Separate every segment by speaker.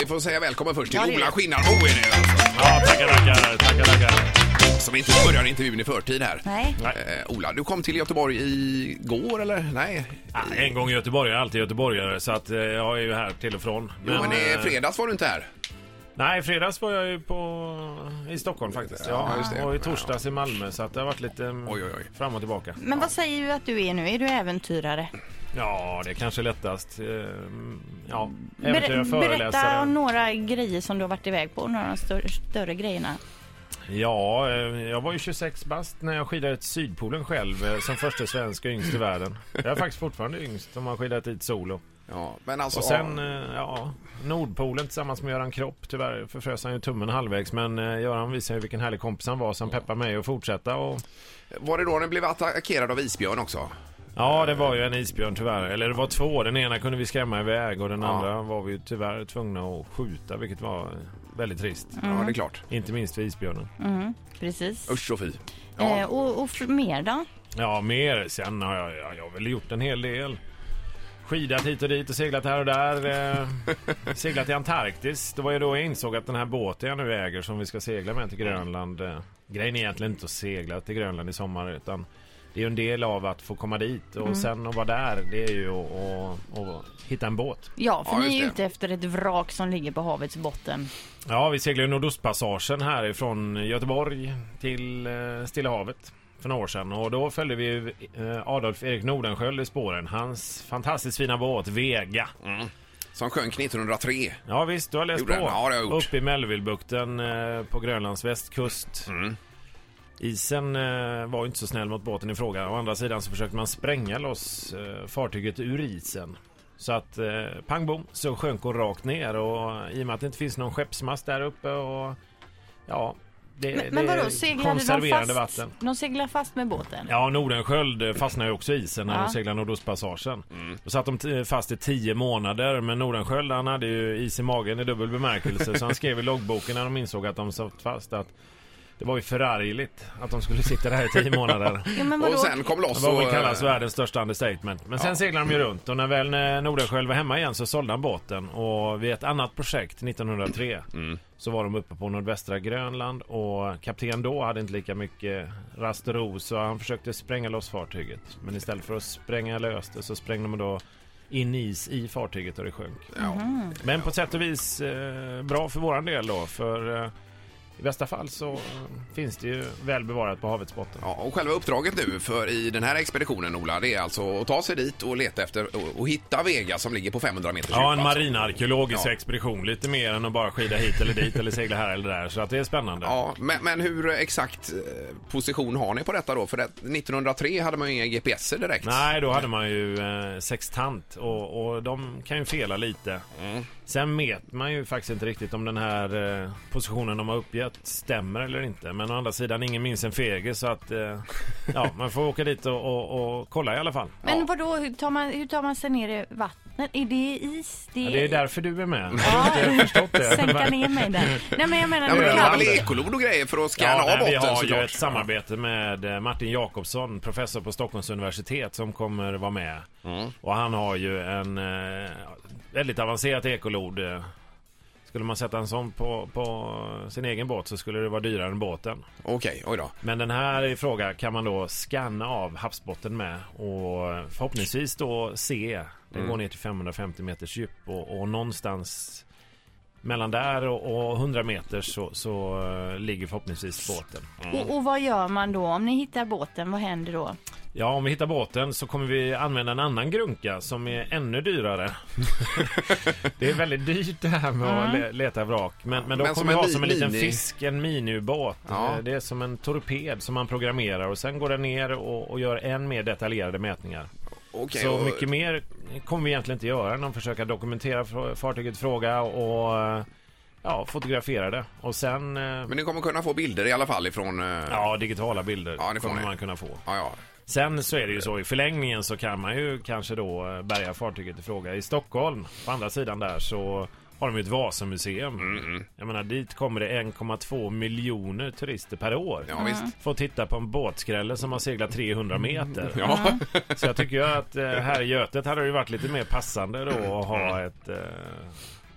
Speaker 1: Vi får säga välkommen först till Ola Skinnarmo är det alltså,
Speaker 2: Ja, tackar, tackar, tackar, tackar.
Speaker 1: som inte börjar intervjun i förtid här.
Speaker 3: Nej.
Speaker 1: Eh, Ola, du kom till Göteborg igår eller? Nej,
Speaker 2: Ah, En gång göteborgare, alltid göteborgare, så att eh, jag är ju här till och från.
Speaker 1: jo, men i
Speaker 2: eh,
Speaker 1: fredags var du inte här.
Speaker 2: Nej, fredags var jag ju på, i Stockholm faktiskt.
Speaker 1: Ja,
Speaker 2: Ja,
Speaker 1: just det.
Speaker 2: Och i torsdags i Malmö, så att det har varit lite eh,
Speaker 1: Oj, oj, oj.
Speaker 2: fram och tillbaka.
Speaker 3: Men vad säger du att du är nu? Är du äventyrare?
Speaker 2: Ja, det är kanske lättast. eh, Ja,
Speaker 3: Ber-
Speaker 2: äventyr,
Speaker 3: berätta om
Speaker 2: föreläsare.
Speaker 3: några grejer som du har varit iväg på, några av de större, större grejerna.
Speaker 2: Ja, eh, jag var ju 26 bast när jag skidade till Sydpolen själv eh, som första svensk och yngst i världen. Jag är faktiskt fortfarande yngst som har skidat dit solo.
Speaker 1: Ja, men alltså,
Speaker 2: Och sen, eh, ja, Nordpolen tillsammans med Göran Kropp. Tyvärr förfrös han ju tummen halvvägs, men eh, Göran visade ju vilken härlig kompis han var som peppade mig att fortsätta. Och, eh,
Speaker 1: var det då den blev attackerad av isbjörn också?
Speaker 2: ja, det var ju en isbjörn tyvärr. Eller det var två. Den ena kunde vi skrämma iväg och den andra var vi ju tyvärr tvungna att skjuta, vilket var eh, väldigt trist.
Speaker 3: Mm.
Speaker 1: Ja, det är klart.
Speaker 2: Inte minst för isbjörnen.
Speaker 3: Precis.
Speaker 1: Usch och fy.
Speaker 3: Eh,
Speaker 1: Ja.
Speaker 3: och, och f- mer då?
Speaker 2: Ja, mer. Sen har jag, jag, jag har väl gjort en hel del. Skidat hit och dit och seglat här och där. Eh, seglat i Antarktis. Det var ju då jag insåg att den här båten jag nu äger som vi ska segla med till Grönland. Eh, grejen är egentligen inte att segla till Grönland i sommar utan det är ju en del av att få komma dit och sen att vara där det är ju att, att, att hitta en båt.
Speaker 3: Ja, för
Speaker 1: Ja,
Speaker 3: ni är
Speaker 1: just
Speaker 3: ju
Speaker 1: det.
Speaker 3: ute efter ett vrak som ligger på havets
Speaker 2: Eh,
Speaker 3: botten.
Speaker 2: Ja, vi seglar ju Nordostpassagen härifrån Göteborg till eh, Stilla havet för några år sedan och då följde vi ju, eh, Adolf Erik Nordenskiöld i spåren. Hans fantastiskt fina båt Vega.
Speaker 1: Som sjönk 1903.
Speaker 2: Ja visst, du har läst
Speaker 1: Gjorde
Speaker 2: på.
Speaker 1: den? Ja, det har jag gjort.
Speaker 2: Upp i Melvillebukten eh, på Grönlands västkust.
Speaker 1: Mm.
Speaker 2: Isen eh, var ju inte så snäll mot båten i fråga. Å andra sidan så försökte man spränga loss eh, fartyget ur isen. Så att eh, pang bom så sjönk hon rakt ner och eh, i och med att det inte finns någon skeppsmast där uppe och ja. Det,
Speaker 3: Men, men
Speaker 2: det är
Speaker 3: vadå, seglade de
Speaker 2: konserverande
Speaker 3: fast?
Speaker 2: vatten.
Speaker 3: De seglar fast med båten?
Speaker 2: Ja, Nordenskiöld fastnade ju också i isen när
Speaker 3: Ja.
Speaker 2: de seglade Nordostpassagen. Då satt de t- fast i tio månader, men Nordenskiöld han hade ju is i magen i dubbel bemärkelse. så han skrev i loggboken när de insåg att de satt fast att det var ju förargligt att de skulle sitta där i tio månader.
Speaker 3: Jo, men vadå?
Speaker 1: Och sen kom loss
Speaker 2: Det var väl
Speaker 1: och...
Speaker 2: kallas världens största understatement. Men sen seglade de ju runt och när väl eh, Nordenskiöld var hemma igen så sålde han båten. Och vid ett annat projekt 1903
Speaker 1: Mm.
Speaker 2: så var de uppe på nordvästra Grönland och kapten då hade inte lika mycket rast och ro så han försökte spränga loss fartyget. Men istället för att spränga lös det så sprängde de då in is i fartyget och det sjönk.
Speaker 1: Ja.
Speaker 2: Men på ett sätt och vis eh, bra för våran del då för eh, i bästa fall så eh, finns det ju väl bevarat på havets botten.
Speaker 1: Ja, och själva uppdraget nu för i den här expeditionen, Ola, det är alltså att ta sig dit och leta efter och, och hitta Vega som ligger på 500 meter djup,
Speaker 2: Ja, en
Speaker 1: alltså.
Speaker 2: marinarkeologisk
Speaker 1: Ja.
Speaker 2: expedition. Lite mer än att bara skida hit eller dit eller segla här eller där. Så att det är spännande.
Speaker 1: Ja, men, men hur exakt eh, position har ni på detta då? För det, 1903 hade man ju inga GPS direkt.
Speaker 2: Nej, då hade man ju eh, sextant och, och de kan ju fela lite. Sen vet man ju faktiskt inte riktigt om den här eh, positionen de har uppgett stämmer eller inte. Men å andra sidan, ingen minns en fege så att eh, ja, man får åka dit och, och, och kolla i alla fall.
Speaker 3: Men vadå, hur tar, man, hur tar man sig ner i vattnet? Är det is? Det,
Speaker 2: Ja, det är därför du är med.
Speaker 3: Ja,
Speaker 2: Jag har förstått det.
Speaker 3: sänka ner mig där. Nej, men jag menar...
Speaker 1: Ja, men
Speaker 3: du
Speaker 1: du
Speaker 2: det
Speaker 1: har
Speaker 3: kan-
Speaker 1: väl ekolod och grejer för att scanna
Speaker 2: Ja,
Speaker 1: av
Speaker 2: nej, vi
Speaker 1: botten
Speaker 2: har ju
Speaker 1: såklart.
Speaker 2: ett samarbete med eh, Martin Jakobsson, professor på Stockholms universitet, som kommer vara med.
Speaker 1: Mm.
Speaker 2: Och han har ju en eh, väldigt avancerat ekolod. eh. Skulle man sätta en sån på, på sin egen båt så skulle det vara dyrare än båten.
Speaker 1: Okej, oj då.
Speaker 2: Men den här i fråga kan man då scanna av havsbotten med och förhoppningsvis då se. Den
Speaker 1: Mm.
Speaker 2: går ner till 550 meters djup och, och någonstans mellan där och, och 100 meter så, så eh, ligger förhoppningsvis båten.
Speaker 3: Och, och vad gör man då? Om ni hittar båten, vad händer då?
Speaker 2: Ja, om vi hittar båten så kommer vi använda en annan grunka som är ännu dyrare. det är väldigt dyrt det här med att le- leta vrak. Men, men då
Speaker 1: Men som
Speaker 2: kommer vi
Speaker 1: en
Speaker 2: ha
Speaker 1: mi-
Speaker 2: som en liten
Speaker 1: mini-
Speaker 2: fisk, en miniubåt.
Speaker 1: Ja.
Speaker 2: Eh, Det är som en torped som man programmerar och sen går den ner och, och gör än mer detaljerade mätningar.
Speaker 1: Okej,
Speaker 2: så
Speaker 1: och-
Speaker 2: mycket mer kommer vi egentligen inte göra än att försöka dokumentera fr- fartyget i fråga och eh, ja, fotografera det. Och sen eh,
Speaker 1: Men ni kommer kunna få bilder i alla fall ifrån... eh,
Speaker 2: ja, digitala bilder
Speaker 1: Ja, det får
Speaker 2: kommer
Speaker 1: ni.
Speaker 2: man kunna få.
Speaker 1: ja, ja.
Speaker 2: Sen så är det ju så i förlängningen så kan man ju kanske då eh, bärga fartyget i fråga. I Stockholm, på andra sidan där, så har de ju ett Vasamuseum. Jag menar, dit kommer det 1,2 miljoner turister per år.
Speaker 1: Ja, visst.
Speaker 2: Får titta på en båtskrälle som har seglat 300 meter.
Speaker 1: Ja,
Speaker 2: Så jag tycker ju att eh, här i Götet hade det ju varit lite mer passande då att ha ett, eh,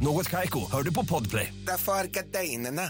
Speaker 4: Något Kaiko, hör du på Podplay.
Speaker 5: Därför arkadeinerna.